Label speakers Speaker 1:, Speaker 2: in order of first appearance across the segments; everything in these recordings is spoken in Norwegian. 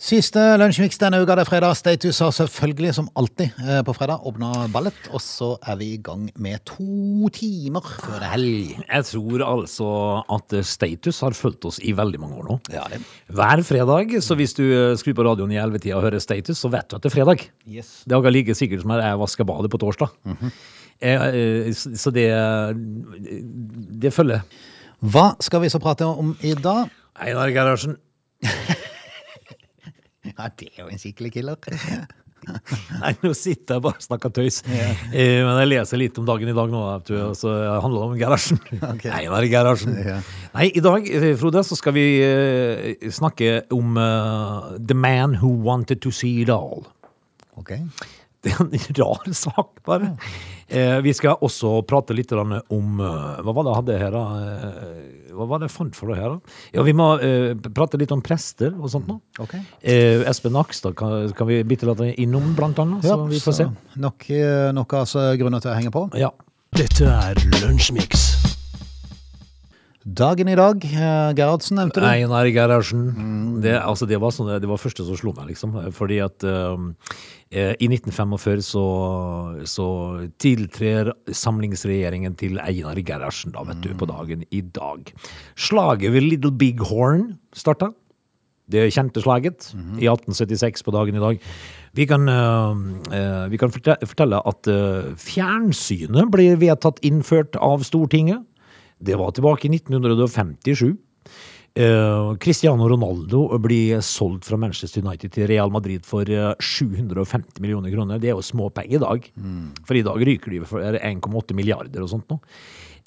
Speaker 1: Siste Lunsjmix denne uka, det er fredag. Status har selvfølgelig, som alltid eh, på fredag, åpna ballet. Og så er vi i gang med to timer før det er helg.
Speaker 2: Jeg tror altså at status har fulgt oss i veldig mange år nå.
Speaker 1: Ja, det.
Speaker 2: Hver fredag, så hvis du eh, skrur på radioen i 11-tida og hører status, så vet du at det er fredag.
Speaker 1: Yes.
Speaker 2: Det er akkurat like sikkert som at jeg vasker badet på torsdag. Eh, eh, s- Så det, eh, det følger.
Speaker 1: Hva skal vi så prate om i dag?
Speaker 2: Einar Gerhardsen.
Speaker 1: Ja, det er jo en skikkelig killer.
Speaker 2: Nei, nå sitter jeg bare og snakker tøys. Eh, Men jeg leser litt om dagen i dag nå, vet du, og så handler det om Gerhardsen.
Speaker 1: Ok.
Speaker 2: Einar Gerhardsen.
Speaker 1: Ja.
Speaker 2: Nei, i dag, eh, Frode, så skal vi eh, snakke om eh, The Man Who Wanted To See It All.
Speaker 1: Ok.
Speaker 2: Det er en rar sak, bare. Eh, vi skal også prate litt grann om eh, Hva var det jeg hadde her, da? Eh, Hva var det jeg fant for det her, da? Ja, vi må eh, prate litt om prester og sånt nå.
Speaker 1: Ok.
Speaker 2: Eh, Espen Nakstad kan, kan vi bitte litt innom, blant annet. Så vi får se.
Speaker 1: Nok, eh, nok altså, grunner til å henge på.
Speaker 2: Ja.
Speaker 3: Dette er Lunsjmix.
Speaker 1: Dagen i dag, eh, Gerhardsen nevnte du.
Speaker 2: Einar Gerhardsen. Det, altså, det, var sånn, det var første som slo meg, liksom. Fordi at eh, i 1945 så, så tiltrer samlingsregjeringen til Einar Gerhardsen, da, vet du, på dagen i dag. Slaget ved Little Big Horn starta. Det kjente slaget i 1876 på dagen i dag. Vi kan, eh, eh, vi kan forte- fortelle at eh, fjernsynet ble vedtatt innført av Stortinget. Det var tilbake i 1957. Eh, Cristiano Ronaldo blir solgt fra Manchester United til Real Madrid for eh, 750 millioner kroner. Det er jo småpenger i dag. For i dag ryker de for 1,8 milliarder og sånt nå.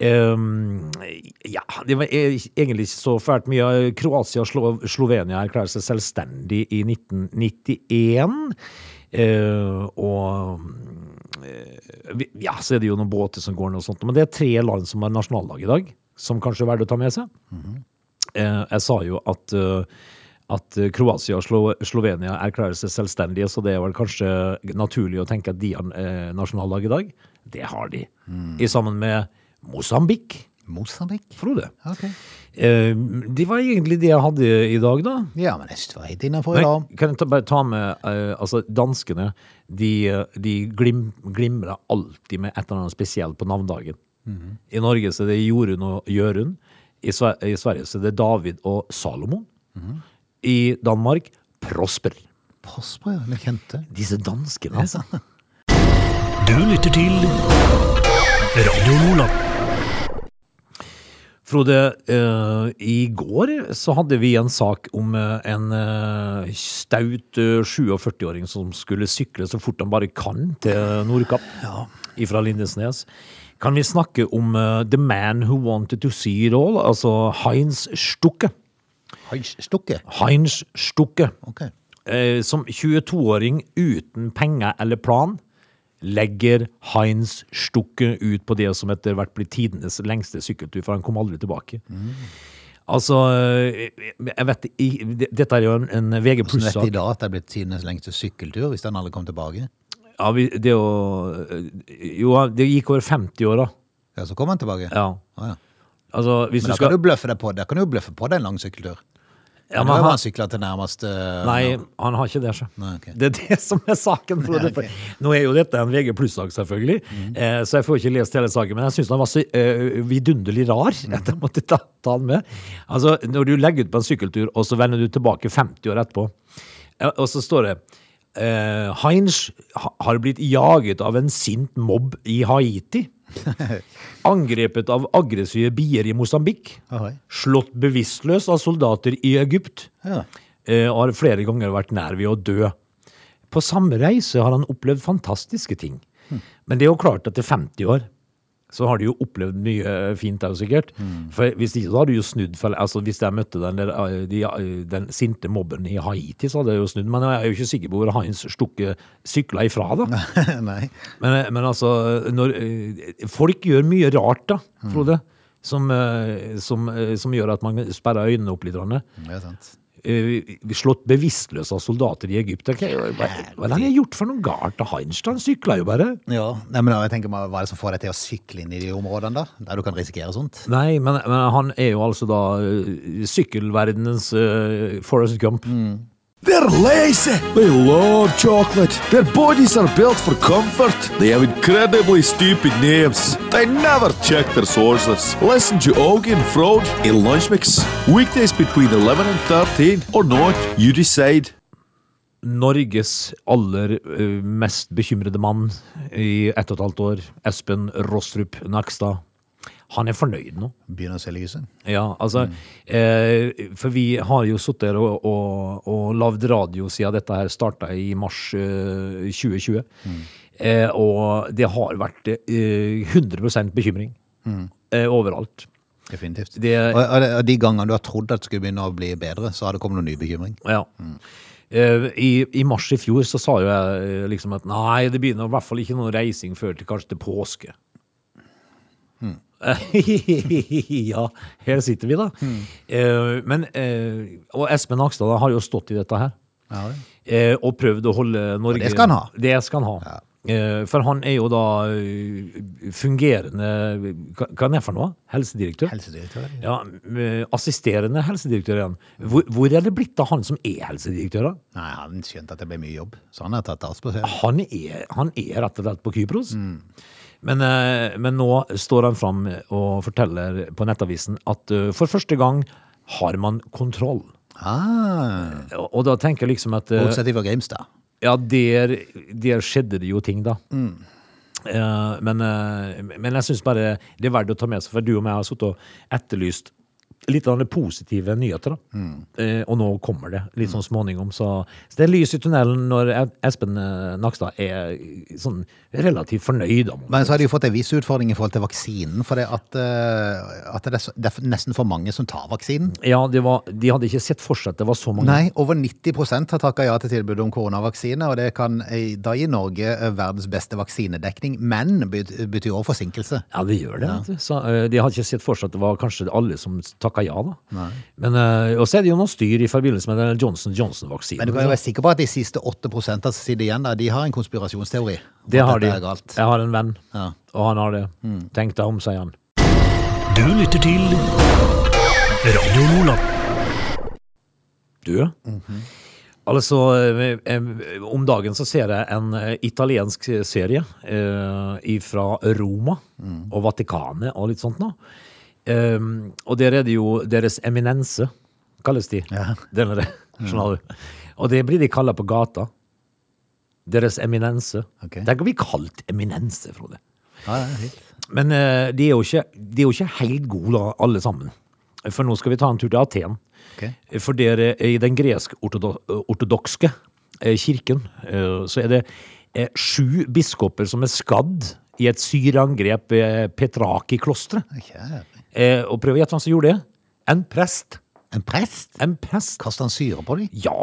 Speaker 2: Ehm, ja, det var eh, egentlig ikke så fælt mye. Kroatia og Slo Slovenia erklærer seg selvstendig i 1991. Eh, og eh, vi- ja, så er det jo noen båter som går ned og sånt. Men det er tre land som har nasjonaldag i dag, som kanskje er verdt å ta med seg. Eh, Jeg sa jo at, eh, at Kroatia og Slo Slovenia erklærer seg selvstendige, så det er vel kanskje naturlig å tenke at de har eh, nasjonaldag i dag. Det har de. I sammen med Mosambik,
Speaker 1: Mosambik.
Speaker 2: Frode.
Speaker 1: Ok.
Speaker 2: Eh, Det var egentlig det jeg hadde i dag, da.
Speaker 1: Ja, men jeg synes det var helt innenfor i
Speaker 2: Nei,
Speaker 1: dag.
Speaker 2: kan jeg ta, bare ta med eh, Altså, danskene de, eh, de glim, glimrer alltid med et eller annet spesielt på navndagen. I Norge så er det Jorunn og Jørund. I, Sve- I Sverige så er det David og Salomon. I Danmark Prosper.
Speaker 1: Prosper, du kjente.
Speaker 2: Disse danskene, altså.
Speaker 3: Du lytter til Radio Nordland.
Speaker 2: Frode, eh, i går så hadde vi en sak om eh, en eh, staut eh, 47-åring som skulle sykle så fort han bare kan til Nordkapp ifra Lindesnes. Kan vi snakke om eh, The Man Who Wanted To See It All, altså Heinz Stukke.
Speaker 1: Hans Stukke.
Speaker 2: Heinz Stukke,
Speaker 1: Ok.
Speaker 2: eh, som 22-åring uten penger eller plan, legger Heinz Stukke ut på det som etter hvert blir tidenes lengste sykkeltur, for han kom aldri tilbake.
Speaker 1: Mm.
Speaker 2: Altså, eh, jeg vet, i- det- dette er jo en, en
Speaker 1: Så
Speaker 2: VG
Speaker 1: du vet
Speaker 2: Pluss-sak.
Speaker 1: i dag at det er blitt tidenes lengste sykkeltur, hvis den aldri kom tilbake?
Speaker 2: Ja, vi- det er jo eh, Jo, det gikk over 50 år, da.
Speaker 1: Ja, så kom han tilbake.
Speaker 2: Ja.
Speaker 1: Å, ja.
Speaker 2: Altså, hvis
Speaker 1: Men da kan
Speaker 2: du skal
Speaker 1: du bløffe deg på, da kan du jo bløffe på deg en lang sykkeltur.
Speaker 2: Ja,
Speaker 1: Ja,
Speaker 2: men
Speaker 1: men
Speaker 2: han-
Speaker 1: han syklet til nærmest... eh,
Speaker 2: Nei, han har ikke det, så.
Speaker 1: Nei, ok.
Speaker 2: Det er det som er saken.
Speaker 1: Ja,
Speaker 2: Frode.
Speaker 1: ok. Mhm.
Speaker 2: Nå er jo dette en VG pluss-sak, selvfølgelig, eh, så jeg får ikke lest hele saken. Men jeg syns han var så eh, vidunderlig rar
Speaker 1: Mhm.
Speaker 2: at jeg måtte ta, ta han med. Altså, Når du legger ut på en sykkeltur, og så vender du tilbake 50 år etterpå, eh, og så står det eh, Heinz ha- har blitt jaget av en sint mobb i Haiti. Angrepet av aggressive bier i Mosambik.
Speaker 1: Ahoi.
Speaker 2: Slått bevisstløs av soldater i Egypt
Speaker 1: Ja.
Speaker 2: eh, og har flere ganger vært nær ved å dø. På samme reise har han opplevd fantastiske ting. Men det er jo klart at til 50 år så har du jo opplevd mye eh, fint der, sikkert. For hvis ikke, så har du jo snudd. For, altså, hvis jeg møtte den, der, eh, de, eh, den sinte mobben i Haiti, så hadde jeg jo snudd. Men jeg er jo ikke sikker på hvor Heinz Stukke sykla ifra, da.
Speaker 1: Nei.
Speaker 2: Men, men altså, når, eh, folk gjør mye rart da, Frode, som, eh, som, eh, som gjør at man sperrer øynene opp litt. grann.
Speaker 1: Det er sant.
Speaker 2: eh, slått bevisstløse av soldater i Egypt. Ok, Hva hva har jeg gjort for noe galt? Da Heinstein sykla jo bare.
Speaker 1: Ja, nei, men da, jeg tenker, meg, Hva er det som får deg til å sykle inn i de områdene der? Der du kan risikere sånt?
Speaker 2: Nei, men, men han er jo altså da eh, sykkelverdenens eh, Forrest Gump.
Speaker 4: They're lazy. They love chocolate. Their bodies are built for comfort. They have incredibly stupid names. They never check their sources. Listen to Augie and Frode in Lunch Mix. Weekdays between 11 and 13 or not, you decide.
Speaker 2: Norges aller eh, mest bekymrede mann i ett og et halvt år, Espen Rostrup Nakstad. Han er fornøyd nå.
Speaker 1: Begynner å se lyset?
Speaker 2: Ja, altså, eh, for vi har jo sittet her og, og, og lagd radio siden dette her starta i mars eh, 2020. Eh, og det har vært eh, 100 bekymring eh, overalt.
Speaker 1: Definitivt.
Speaker 2: Det-
Speaker 1: og, og de- og de gangene du har trodd at det skulle begynne å bli bedre, så har det kommet noen ny bekymring.
Speaker 2: Ja. Eh, I, I mars i fjor så sa jo jeg eh, liksom at nei, det begynner i hvert fall ikke noen reising før til kanskje til påske. ja, her sitter vi da. Eh, men, eh, og Espen Nakstad da, har jo stått i dette her.
Speaker 1: Ja, vel.
Speaker 2: eh, og prøvd å holde Norge
Speaker 1: det skal han ha.
Speaker 2: Det skal han ha. Eh, for han er jo da eh, fungerende Hva hva er det for noe? Helsedirektør?
Speaker 1: Helsedirektør?
Speaker 2: Ja, eh, assisterende helsedirektør igjen. Hvor, hvor er det blitt av han som er helsedirektør, da?
Speaker 1: Nei, han skjønte at det ble mye jobb, så han har tatt avspasering.
Speaker 2: Han er, han er rett og slett på Kypros.
Speaker 1: Mm.
Speaker 2: Men, eh, men nå står han fram og forteller på Nettavisen at eh, for første gang har man kontroll.
Speaker 1: Ah,
Speaker 2: Og, og da tenker jeg liksom at eh,
Speaker 1: motsatt fra Grimstad.
Speaker 2: Ja, der, der skjedde det jo ting, da. Eh, men, eh, men jeg syns bare det er verdt å ta med seg, for du og meg har sittet og etterlyst litt av det positive nyheter, da. Eh, og nå kommer det, litt sånn småningom. Så, så det er lys i tunnelen når Espen eh, Nakstad er sånn relativt fornøyd. da, må man
Speaker 1: Men så har de jo fått en viss utfordring i forhold til vaksinen, for det at, eh, at det, er, så- det er nesten for mange som tar vaksinen.
Speaker 2: si. Ja, det var, de hadde ikke sett for seg at det var så mange.
Speaker 1: Nei, over 90 har takka ja til tilbudet om koronavaksine, og det kan eh, da gi Norge eh, verdens beste vaksinedekning, men bet- betyr også forsinkelse.
Speaker 2: Ja, det gjør det. vet du. Så, eh, de hadde ikke sett for seg at det var kanskje alle som takka ja, da. Men, eh, og så er det jo noe styr i forbindelse med den
Speaker 1: Men du kan
Speaker 2: Johnson
Speaker 1: jo
Speaker 2: Johnson-vaksinen.
Speaker 1: være sikker på at de siste 8 som sitter igjen der, de har en konspirasjonsteori. om
Speaker 2: Det
Speaker 1: at
Speaker 2: har de.
Speaker 1: dette er galt.
Speaker 2: Jeg har en venn,
Speaker 1: Ja. Mm.
Speaker 2: og han har det. Tenk deg om, sier han.
Speaker 3: Du lytter til Radio Nordland.
Speaker 2: Du? Altså, eh, eh, om dagen så ser jeg en eh, italiensk serie eh, fra Roma og Vatikanet og litt sånt nå. Ehm, og der er det jo Deres eminense, kalles de.
Speaker 1: Ja. Mm.
Speaker 2: Den er det, skjønner du. Og det blir de kalla på gata. Deres eminense.
Speaker 1: Ok.
Speaker 2: Det kan bli kalt eminense, Frode.
Speaker 1: Ja, ja, fint.
Speaker 2: Men eh, de er jo ikke, de er jo ikke helt gode, da, alle sammen. For nå skal vi ta en tur til Aten.
Speaker 1: Ok.
Speaker 2: For dere eh, i den gresk-ortodokske kirken, eh, så er det eh, sju biskoper som er skadd i et syreangrep ved Petraki-klosteret.
Speaker 1: Kjære.
Speaker 2: Eh, Og prøv å gjette hvem som gjorde det. En prest.
Speaker 1: En prest?
Speaker 2: En prest.
Speaker 1: Kaster han syre på dem?
Speaker 2: Ja,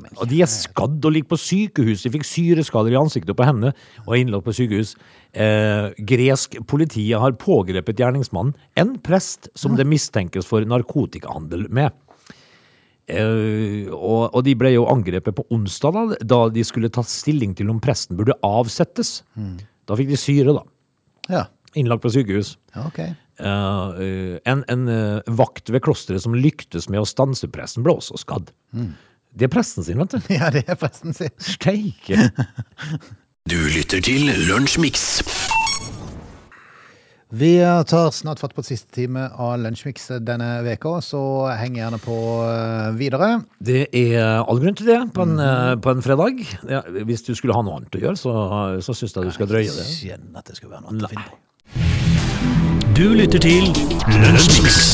Speaker 1: men
Speaker 2: og de er skadd og ligger på sykehus. De fikk syreskader i ansiktet og på hendene og er innlagt på sykehus. Eh, gresk politi har pågrepet gjerningsmannen, en prest som det mistenkes for narkotikahandel med. Eh, og, og de ble jo angrepet på onsdag, da, da de skulle ta stilling til om presten burde avsettes. Da fikk de syre, da.
Speaker 1: Ja.
Speaker 2: Innlagt på sykehus.
Speaker 1: ja, ok.
Speaker 2: Eh, eh, en en eh, vakt ved klosteret som lyktes med å stanse presten, ble også skadd. Det er presten sin, vet du.
Speaker 1: Ja, det er presten sin.
Speaker 2: Steike!
Speaker 3: Du lytter til Lunsjmix.
Speaker 1: Vi tar snart fatt på siste time av Lunsjmix denne veka, så heng gjerne på eh, videre.
Speaker 2: Det er all grunn til det på en, eh, på en fredag. Ja, hvis du skulle ha noe annet å gjøre, så, så syns jeg du skal drøye det.
Speaker 1: Skjønner at det skal være noe annet å finne på.
Speaker 3: Du lytter til Lunsjmix.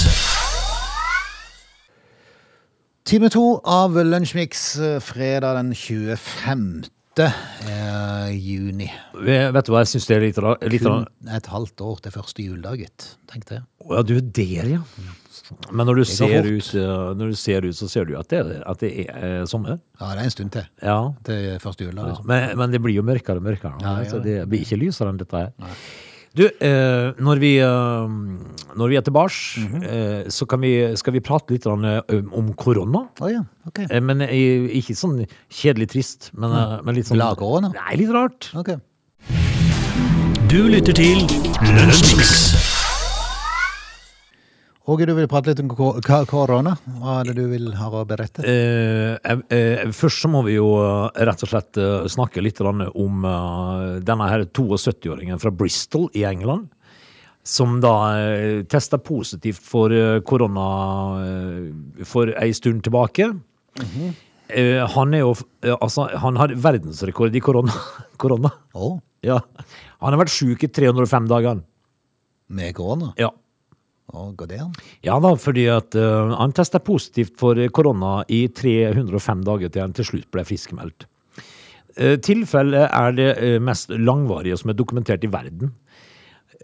Speaker 1: Time to av Lunsjmix eh, fredag den 25. eh, juni.
Speaker 2: Ve- Vet du hva jeg syns det er litt rart?
Speaker 1: Kun et halvt år til første juledag, gitt. Tenk det.
Speaker 2: Å ja, du er der, ja. Men når du,
Speaker 1: går
Speaker 2: ser
Speaker 1: fort.
Speaker 2: ut, eh, når du ser ut, så ser du at det, er- at det er eh, sommer.
Speaker 1: Ja, det er en stund til.
Speaker 2: Ja.
Speaker 1: Til første juledag.
Speaker 2: Ja,
Speaker 1: liksom.
Speaker 2: men, men det blir jo mørkere og mørkere.
Speaker 1: Ja, det
Speaker 2: så
Speaker 1: gjør
Speaker 2: det blir ikke lysere enn dette her. Du, eh, når, vi, eh, når vi er tilbake, eh, så kan vi, skal vi prate litt grann, eh, om korona.
Speaker 1: Å ja, ok.
Speaker 2: Eh, men eh, ikke sånn kjedelig trist, men, eh, men litt sånn
Speaker 1: Glad korona?
Speaker 2: Nei, litt rart.
Speaker 1: ok.
Speaker 3: Du lytter til Lunsjmix.
Speaker 1: Åge, du vil prate litt om ko- ka- korona. Hva er det du vil ha å berette?
Speaker 2: Eh, eh, eh, først så må vi jo eh, rett og slett eh, snakke litt grann om eh, denne her 72-åringen fra Bristol i England. Som da eh, testa positivt for eh, korona eh, for ei stund tilbake. Eh, han er jo f- eh, Altså, han har verdensrekord i korona. korona.
Speaker 1: Å,
Speaker 2: Ja. Han har vært sjuk i 305 dager.
Speaker 1: med korona?
Speaker 2: Ja.
Speaker 1: Å, går det an?
Speaker 2: Ja da, fordi at eh, han testa positivt for korona i 305 dager til han til slutt ble friskmeldt. Uh, tilfellet er det eh, mest langvarige som er dokumentert i verden.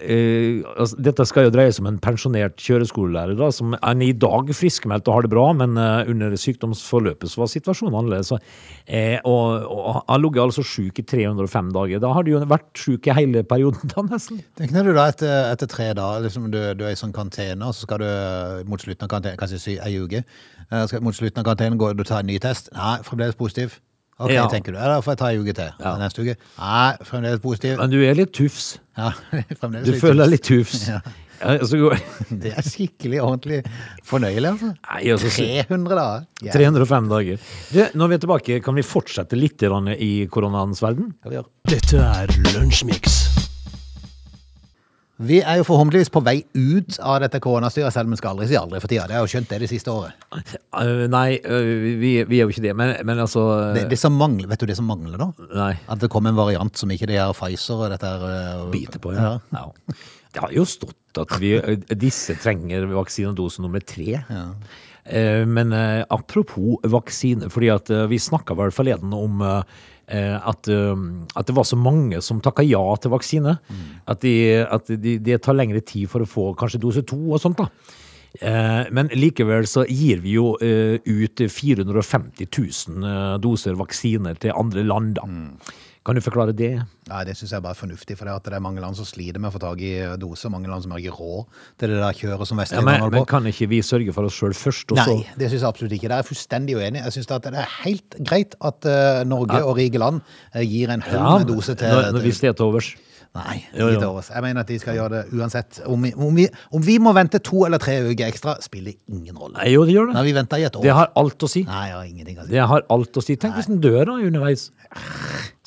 Speaker 2: Eh, altså, dette skal jo dreie seg om en pensjonert kjøreskolelærer da, som han er i dag friskmeldt og har det bra, men eh, under sykdomsforløpet så var situasjonen annerledes. Så, eh, og, og han lå altså sjuk i 305 dager. Da har du jo vært sjuk i hele perioden, da, nesten.
Speaker 1: Tenker du da etter, etter tre dager, liksom du, du er i sånn karantene, og så skal du eh, mot slutten av karantene, kanskje sy, ei uke, eh, skal, mot slutten av karantene går du og tar en ny test. Nei, fremdeles positiv. Ok,
Speaker 2: Ja.
Speaker 1: tenker du. Ja, da får jeg ta ei uke til. Neste uke. Nei, fremdeles positiv.
Speaker 2: Men du er litt tufs.
Speaker 1: Ja, fremdeles
Speaker 2: Du
Speaker 1: litt-
Speaker 2: føler deg litt tufs.
Speaker 1: Ja.
Speaker 2: Eh, så går-
Speaker 1: Det er skikkelig ordentlig fornøyelig, altså.
Speaker 2: Nei, altså, så-
Speaker 1: 300 dager. Ja.
Speaker 2: 305 dager. Du, når vi er tilbake, kan vi fortsette litt grann i koronaens verden?
Speaker 1: Skal vi gjøre.
Speaker 3: Dette er Lunsjmix.
Speaker 1: Vi er jo forhåpentligvis på vei ut av dette koronastyret, selv om vi skal aldri si aldri for tida. Det har jeg jo skjønt det det siste året.
Speaker 2: Eh, nei, eh, vi, vi er jo ikke det, men, men altså
Speaker 1: Det, det som mangler, vet du det som mangler nå?
Speaker 2: Nei.
Speaker 1: At det kom en variant som ikke det her Pfizer og dette her øh,
Speaker 2: Biter på, ja. ja. Det har jo stått at vi, eh, disse trenger vaksinedose nummer tre. Eh, Men eh, apropos vaksine, fordi at eh, vi snakka vel forleden om eh, eh, at, eh, at det var så mange som takka ja til vaksine. At det de, det tar lengre tid for å få kanskje dose to og sånt, da. Eh, Men likevel så gir vi jo eh, ut 450 000 eh, doser vaksiner til andre land, da. Kan du forklare det?
Speaker 1: Nei, det syns jeg bare er fornuftig, for det, at det er mange land som sliter med å få tak i øh, doser, mange land som har ikke råd til det der kjøret som
Speaker 2: Ja,
Speaker 1: Vestlandet
Speaker 2: men, men
Speaker 1: holder på.
Speaker 2: kan ikke vi sørge for oss sjøl først? Og
Speaker 1: Nei,
Speaker 2: Så?
Speaker 1: det syns jeg absolutt ikke. Der er jeg fullstendig uenig. Jeg syns det er helt greit at øh, Norge og rike land øh, gir en
Speaker 2: Ja,
Speaker 1: høy dose til eh,
Speaker 2: når, når, hvis det er til overs.
Speaker 1: Nei,
Speaker 2: Jo, jo.
Speaker 1: drit over oss. Jeg mener at de skal gjøre det uansett. Om vi, om, vi, om vi må vente to eller tre uker ekstra, spiller ingen rolle.
Speaker 2: Nei, jo, det gjør
Speaker 1: Nei,
Speaker 2: det.
Speaker 1: vi venter i et år.
Speaker 2: Det har alt å si.
Speaker 1: Nei, jeg har ingenting å si.
Speaker 2: Det har alt å si. Tenk hvis den dør da underveis.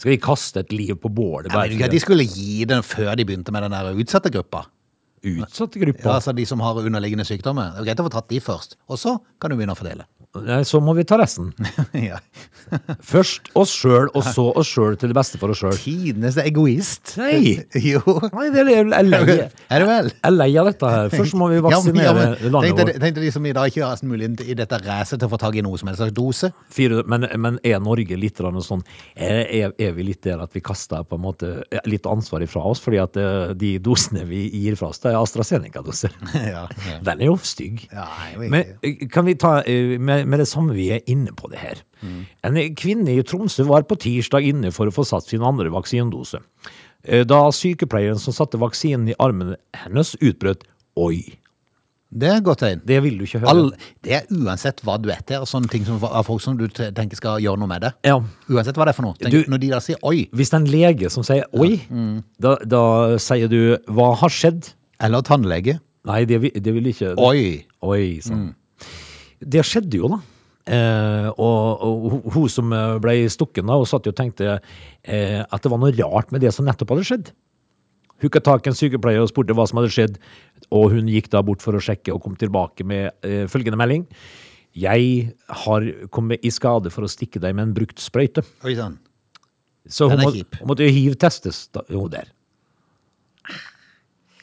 Speaker 2: Skal vi kaste et liv på bålet?
Speaker 1: Jeg mener
Speaker 2: Bare
Speaker 1: ikke at
Speaker 2: for
Speaker 1: de skulle gi den før de begynte med den der utsatte gruppa.
Speaker 2: den utsatte
Speaker 1: Ja,
Speaker 2: gruppa?
Speaker 1: altså de som har underliggende sykdommer. Det er greit å få tatt de først, og så kan du begynne å fordele.
Speaker 2: Nei, Så må vi ta resten.
Speaker 1: ja.
Speaker 2: Først oss sjøl, og så oss sjøl til det beste for oss sjøl.
Speaker 1: Tidenes egoist.
Speaker 2: Nei.
Speaker 1: jo.
Speaker 2: Nei, det er jeg er lei
Speaker 1: Er det vel?
Speaker 2: Jeg er lei av dette her. Først må vi vaksinere
Speaker 1: Ja, men- ja, men
Speaker 2: landet
Speaker 1: Tenk deg-
Speaker 2: vårt.
Speaker 1: tenk deg de som i dag ikke har mulighet i dette racet til å få tak i noe som helst slags dose.
Speaker 2: Fire- Men, men er Norge litt grann sånn er, er- er vi litt der at vi kaster på en måte litt ansvar ifra oss? Fordi at eh, de dosene vi gir fra oss, det er AstraZeneca-doser.
Speaker 1: ja, ja.
Speaker 2: Den er jo stygg.
Speaker 1: Ja, jeg vet
Speaker 2: Men eh, kan vi ta eh, med, med det samme vi er inne på det her.
Speaker 1: Mm.
Speaker 2: En eh, kvinne i Tromsø var på tirsdag inne for å få satt sin andre vaksinedose. Eh, Da sykepleieren som satte vaksinen i armen hennes, utbrøt 'oi'.
Speaker 1: Det er et godt tegn.
Speaker 2: Det vil du ikke høre.
Speaker 1: All, det er uansett hva du vet her, sånne ting som, av folk som du te- tenker skal gjøre noe med det.
Speaker 2: Ja.
Speaker 1: Uansett hva det er for noe. Tenk,
Speaker 2: Du-
Speaker 1: når de da sier 'oi'
Speaker 2: Hvis det er en lege som sier 'oi', da, da sier du 'hva har skjedd'?
Speaker 1: eller tannlege
Speaker 2: Nei, det, vil- det vil ikke
Speaker 1: 'oi',
Speaker 2: Oi sann. Det skjedde jo, da. Eh, og, og hun- hun som eh, ble stukken, da, hun satt jo og tenkte eh, at det var noe rart med det som nettopp hadde skjedd. Hooka tak i en sykepleier og spurte hva som hadde skjedd, og hun gikk da bort for å sjekke og kom tilbake med eh, følgende melding. Jeg har kommet i skade for å stikke deg med en brukt sprøyte.
Speaker 1: oi sånn. sann.
Speaker 2: Så
Speaker 1: Den
Speaker 2: hun,
Speaker 1: er
Speaker 2: må,
Speaker 1: kjip.
Speaker 2: hun måtte jo hivtestes, da, hun der.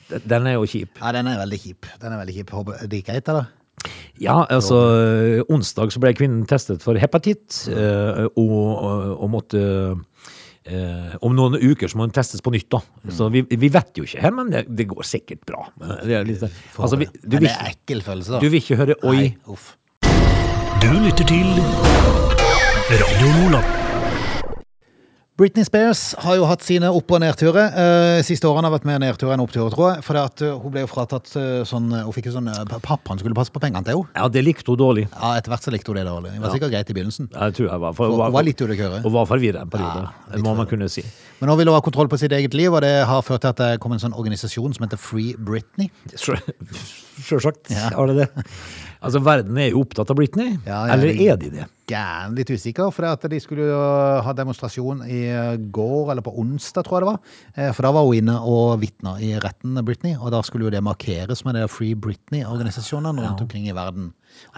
Speaker 2: Den- Den er jo kjip.
Speaker 1: Ja, den er veldig kjip. Den er veldig kjip. Håper det gikk greit, eller?
Speaker 2: Ja, altså ø, onsdag så ble kvinnen testet for hepatitt, ø, og, og, og måtte ø, om noen uker så må hun testes på nytt. da. Så vi, vi vet jo ikke her, men det, det går sikkert bra. Det er litt, altså, vi, du,
Speaker 1: Men
Speaker 2: vil,
Speaker 1: det er ekkel følelse, da.
Speaker 2: du vil ikke høre 'oi'.
Speaker 1: Nei, uff.
Speaker 3: Du lytter til Radio Nordland.
Speaker 1: Britney Spears har jo hatt sine opp- og nedturer. Eh, siste årene har vært mer nedturer enn oppturer, tror jeg. For det at eh, hun ble jo fratatt eh, sånn eh, Hun fikk jo sånn eh, Pappaen skulle passe på pengene til henne.
Speaker 2: Ja, det likte hun dårlig.
Speaker 1: Ja, etter hvert så likte hun det dårlig. Det var sikkert greit i begynnelsen.
Speaker 2: Jeg tror jeg var, for,
Speaker 1: Hun var litt ute å kjøre.
Speaker 2: Hun var forvirret en periode,
Speaker 1: Ja,
Speaker 2: det
Speaker 1: litt
Speaker 2: må man
Speaker 1: forvirret.
Speaker 2: kunne si.
Speaker 1: Men nå vil hun ha kontroll på sitt eget liv, og det har ført til at det kom en sånn organisasjon som heter Free Britney.
Speaker 2: Sjø- Sjølsagt
Speaker 1: Ja.
Speaker 2: har det det. Altså, verden er jo opptatt av Britney.
Speaker 1: Ja, ja,
Speaker 2: Eller
Speaker 1: det-
Speaker 2: er de det?
Speaker 1: Gæren litt usikker, for det at de skulle jo ha demonstrasjon i eh, går, eller på onsdag, tror jeg det var. Eh, For da var hun inne og vitna i retten, Britney, og da skulle jo det markeres med det Free Britney-organisasjonene rundt omkring i verden.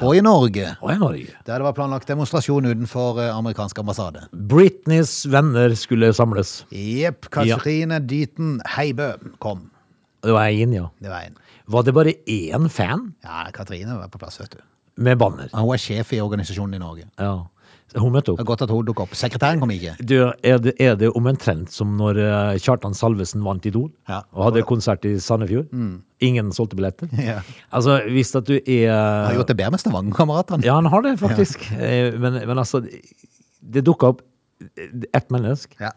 Speaker 1: Og i Norge.
Speaker 2: Og i Norge.
Speaker 1: Der det var planlagt demonstrasjon utenfor eh, amerikansk ambassade.
Speaker 2: Britneys venner skulle samles.
Speaker 1: Jepp.
Speaker 2: Ja.
Speaker 1: Katrine Dyten Heibø kom.
Speaker 2: Det var én, ja.
Speaker 1: Det var en.
Speaker 2: Var det bare én fan
Speaker 1: Ja, Katrine var på plass, vet du.
Speaker 2: med banner?
Speaker 1: Hun er sjef i organisasjonen i Norge.
Speaker 2: Ja. Hun møtte
Speaker 1: Det
Speaker 2: opp.
Speaker 1: er godt at hun dukket opp. Sekretæren kom ikke.
Speaker 2: Du, er, det, er det omtrent som når eh, Kjartan Salvesen vant Idol
Speaker 1: Ja. Mm.
Speaker 2: og hadde konsert i Sandefjord? Ingen solgte billetter?
Speaker 1: Ja.
Speaker 2: Altså, hvis at du er
Speaker 1: Har gjort det bedre med Stavanger-kameratene.
Speaker 2: Ja, han har det, faktisk. Eh, Men, men altså, det dukka opp ett menneske
Speaker 1: Ja.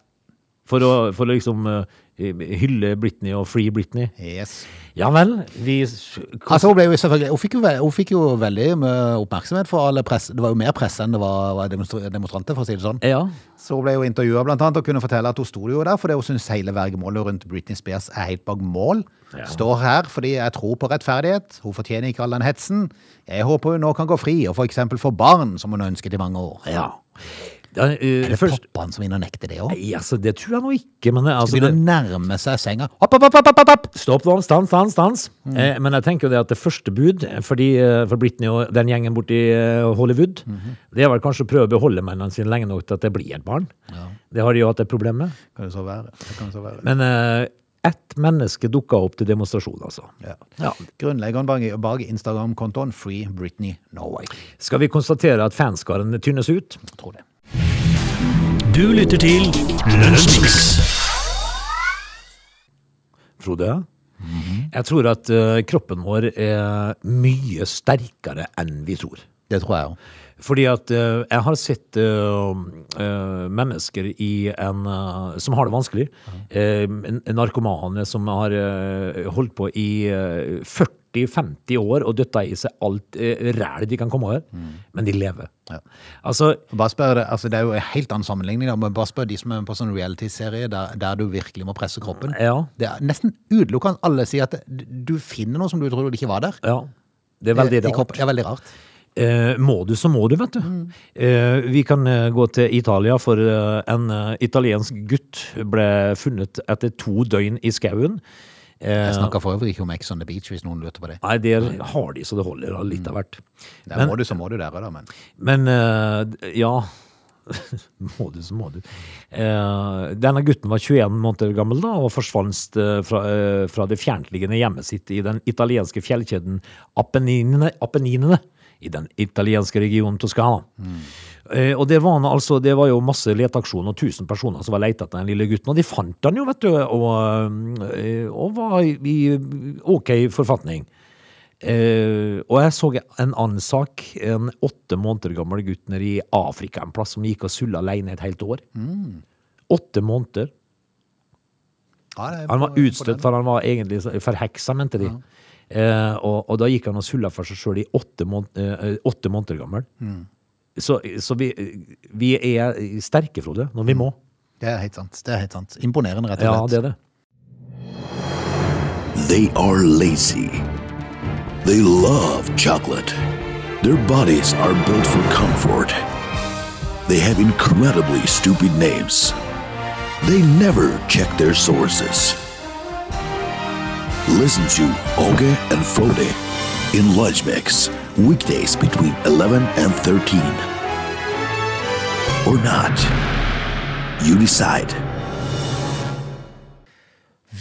Speaker 2: for å, for å liksom eh, hylle Britney og free Britney.
Speaker 1: Yes.
Speaker 2: Ja vel, vi
Speaker 1: Altså, hun, ble jo selvfølgelig, hun, fikk jo, ve- hun fikk jo veldig mye oppmerksomhet for alle press. Det var jo mer press enn det var, var demonstra- demonstranter, for å si det sånn.
Speaker 2: Ja.
Speaker 1: Så hun ble jo intervjua blant annet og kunne fortelle at hun sto jo der fordi hun syns hele vergemålet rundt Britney Spears er helt bak mål.
Speaker 2: Ja.
Speaker 1: Står her fordi jeg tror på rettferdighet. Hun fortjener ikke all den hetsen. Jeg håper hun nå kan gå fri og f.eks. få barn, som hun ønsket i mange år.
Speaker 2: ja. Ja, eh,
Speaker 1: Er det
Speaker 2: først,
Speaker 1: pappaen som vinner og nekter det òg?
Speaker 2: Nei, altså, det tror jeg nå ikke, men altså,
Speaker 1: Begynner
Speaker 2: det,
Speaker 1: å nærme seg senga. Hopp, hopp, hopp, hopp, hopp, hopp!
Speaker 2: Stopp, vann, stans, stans, stans. Eh, men jeg tenker jo det at det første bud fordi, eh, for Britney og den gjengen borti eh, Hollywood, det er vel kanskje å prøve å beholde mennene sine lenge nok til at det blir et barn. Det har de jo hatt et problem med.
Speaker 1: Kan det så være? Det kan det så være.
Speaker 2: Men eh, ett menneske dukka opp til demonstrasjon, altså.
Speaker 1: Ja.
Speaker 2: Ja.
Speaker 1: Grunnleggeren bak- bak Instagram-kontoen Free Britney Norway.
Speaker 2: Skal vi konstatere at fanskaren tynnes ut?
Speaker 1: Jeg tror det.
Speaker 3: Du lytter til Lunsjmix.
Speaker 2: Frode? Jeg tror at eh, kroppen vår er mye sterkere enn vi tror.
Speaker 1: Det tror jeg òg.
Speaker 2: Fordi at eh, jeg har sett eh, eh, mennesker i en, eh, som har det vanskelig. Eh, en- en narkomane som har eh, holdt på i eh, 40-50 år og døtta i seg alt uh, ræl de kan komme over. Men de lever.
Speaker 1: Mm. Ja.
Speaker 2: Altså,
Speaker 1: Bare spør det, altså det er jo en helt annen sammenligning, da, men bare spør de som er på sånn reality-serie der, der du virkelig må presse kroppen.
Speaker 2: Ja.
Speaker 1: Det er nesten utelukkende alle sier at du finner noe som du trodde ikke var der. Eh,
Speaker 2: ja. Det er veldig
Speaker 1: I
Speaker 2: rart.
Speaker 1: kroppen. Ja, veldig rart.
Speaker 2: Eh, må du, så må du, vet du. Eh, vi kan eh, gå til Italia, for eh, en eh, italiensk gutt ble funnet etter to døgn i skauen. Eh,
Speaker 1: Jeg snakker for øvrig ikke om Ex on the Beach, hvis noen lurte på det.
Speaker 2: Nei, der har de så det holder, da, litt av hvert.
Speaker 1: Der
Speaker 2: Men,
Speaker 1: må du, så må du der òg, da, men
Speaker 2: men eh, ja Må du, så må du. Eh, denne gutten var 21 måneder gammel da, og forsvant eh, fra, eh, fra det fjerntliggende hjemmet sitt i den italienske fjellkjeden Apenninene, Apenninene i den italienske regionen Toskana. Eh, og det var, han, altså, det var jo masse leteaksjon og tusen personer som var leita etter den lille gutten, og de fant han jo, vet du, og, eh, og var i i ok forfatning. Eh, og jeg så en annen sak. En åtte måneder gammel gutt nede i Afrika en plass som gikk og sulla alene et helt år. Åtte måneder.
Speaker 1: ja, det er
Speaker 2: Han var
Speaker 1: på- på
Speaker 2: utstøtt,
Speaker 1: den.
Speaker 2: for han var egentlig forheksa, mente de. Eh, og, og da gikk han og sulla for seg sjøl i åtte, mån- eh, åtte måneder gammel. Så, så vi, vi er sterke, Frode, når vi må.
Speaker 1: Det er helt sant. det er helt sant. Imponerende, rett og
Speaker 2: Ja,
Speaker 1: slett.
Speaker 2: det er det.
Speaker 3: They are lazy. They love chocolate. Their bodies are built for comfort. They have incredibly stupid names. They never check their sources. Listen to Oge and Frode in Lunch Mix, weekdays between 11 and 13. Or not. You decide.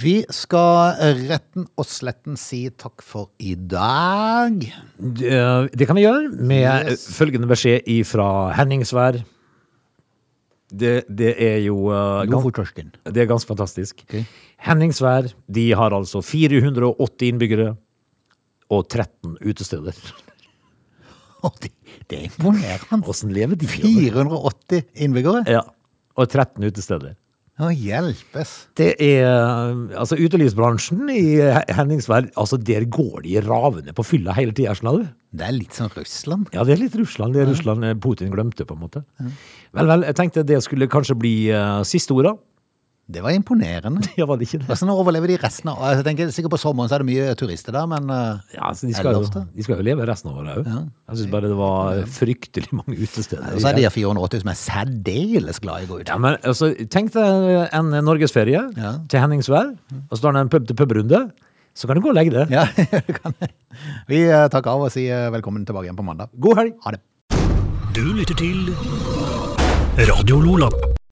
Speaker 1: Vi skal retten og sletten si takk for i dag.
Speaker 2: Eh, Det kan vi gjøre med
Speaker 1: Yes.
Speaker 2: eh, følgende beskjed ifra Henningsvær. Det, det er jo eh,
Speaker 1: Gå
Speaker 2: gans-
Speaker 1: for tørsken.
Speaker 2: det er ganske fantastisk.
Speaker 1: Ok.
Speaker 2: Henningsvær de har altså 480 innbyggere og 13 utesteder.
Speaker 1: Å, Det det er imponerende.
Speaker 2: Åssen lever de?
Speaker 1: 480 innbyggere?
Speaker 2: Ja, og 13 utesteder.
Speaker 1: Å, hjelpes.
Speaker 2: Det er altså utelivsbransjen i Henningsvær. Altså, der går de ravende på fylla hele tida, skjønner du.
Speaker 1: Det er litt sånn Russland.
Speaker 2: Ja, det er litt Russland. Det er Russland eh, Putin glemte, på en måte. Vel, vel, jeg tenkte det skulle kanskje bli eh, siste orda.
Speaker 1: Det var imponerende.
Speaker 2: Ja, var det ikke det?
Speaker 1: Hvordan overlever de resten av altså, jeg tenker Sikkert på sommeren så er det mye turister der, men eh,
Speaker 2: Ja,
Speaker 1: er
Speaker 2: altså, de,
Speaker 1: det
Speaker 2: skal jo,
Speaker 1: lov til?
Speaker 2: de skal jo leve resten av året òg. Jeg syns bare det var fryktelig mange utesteder.
Speaker 1: Og så er det de 480 som er særdeles glad i å gå ut.
Speaker 2: Ja, men altså, Tenk deg en norgesferie
Speaker 1: Ja.
Speaker 2: til Henningsvær, og så tar du en pub-til-pub-runde. Så kan du gå og legge deg.
Speaker 1: Ja, det kan jeg. Vi eh, takker av og sier velkommen tilbake igjen på mandag.
Speaker 2: God helg!
Speaker 1: Ha det.
Speaker 5: Du lytter til Radio Lola.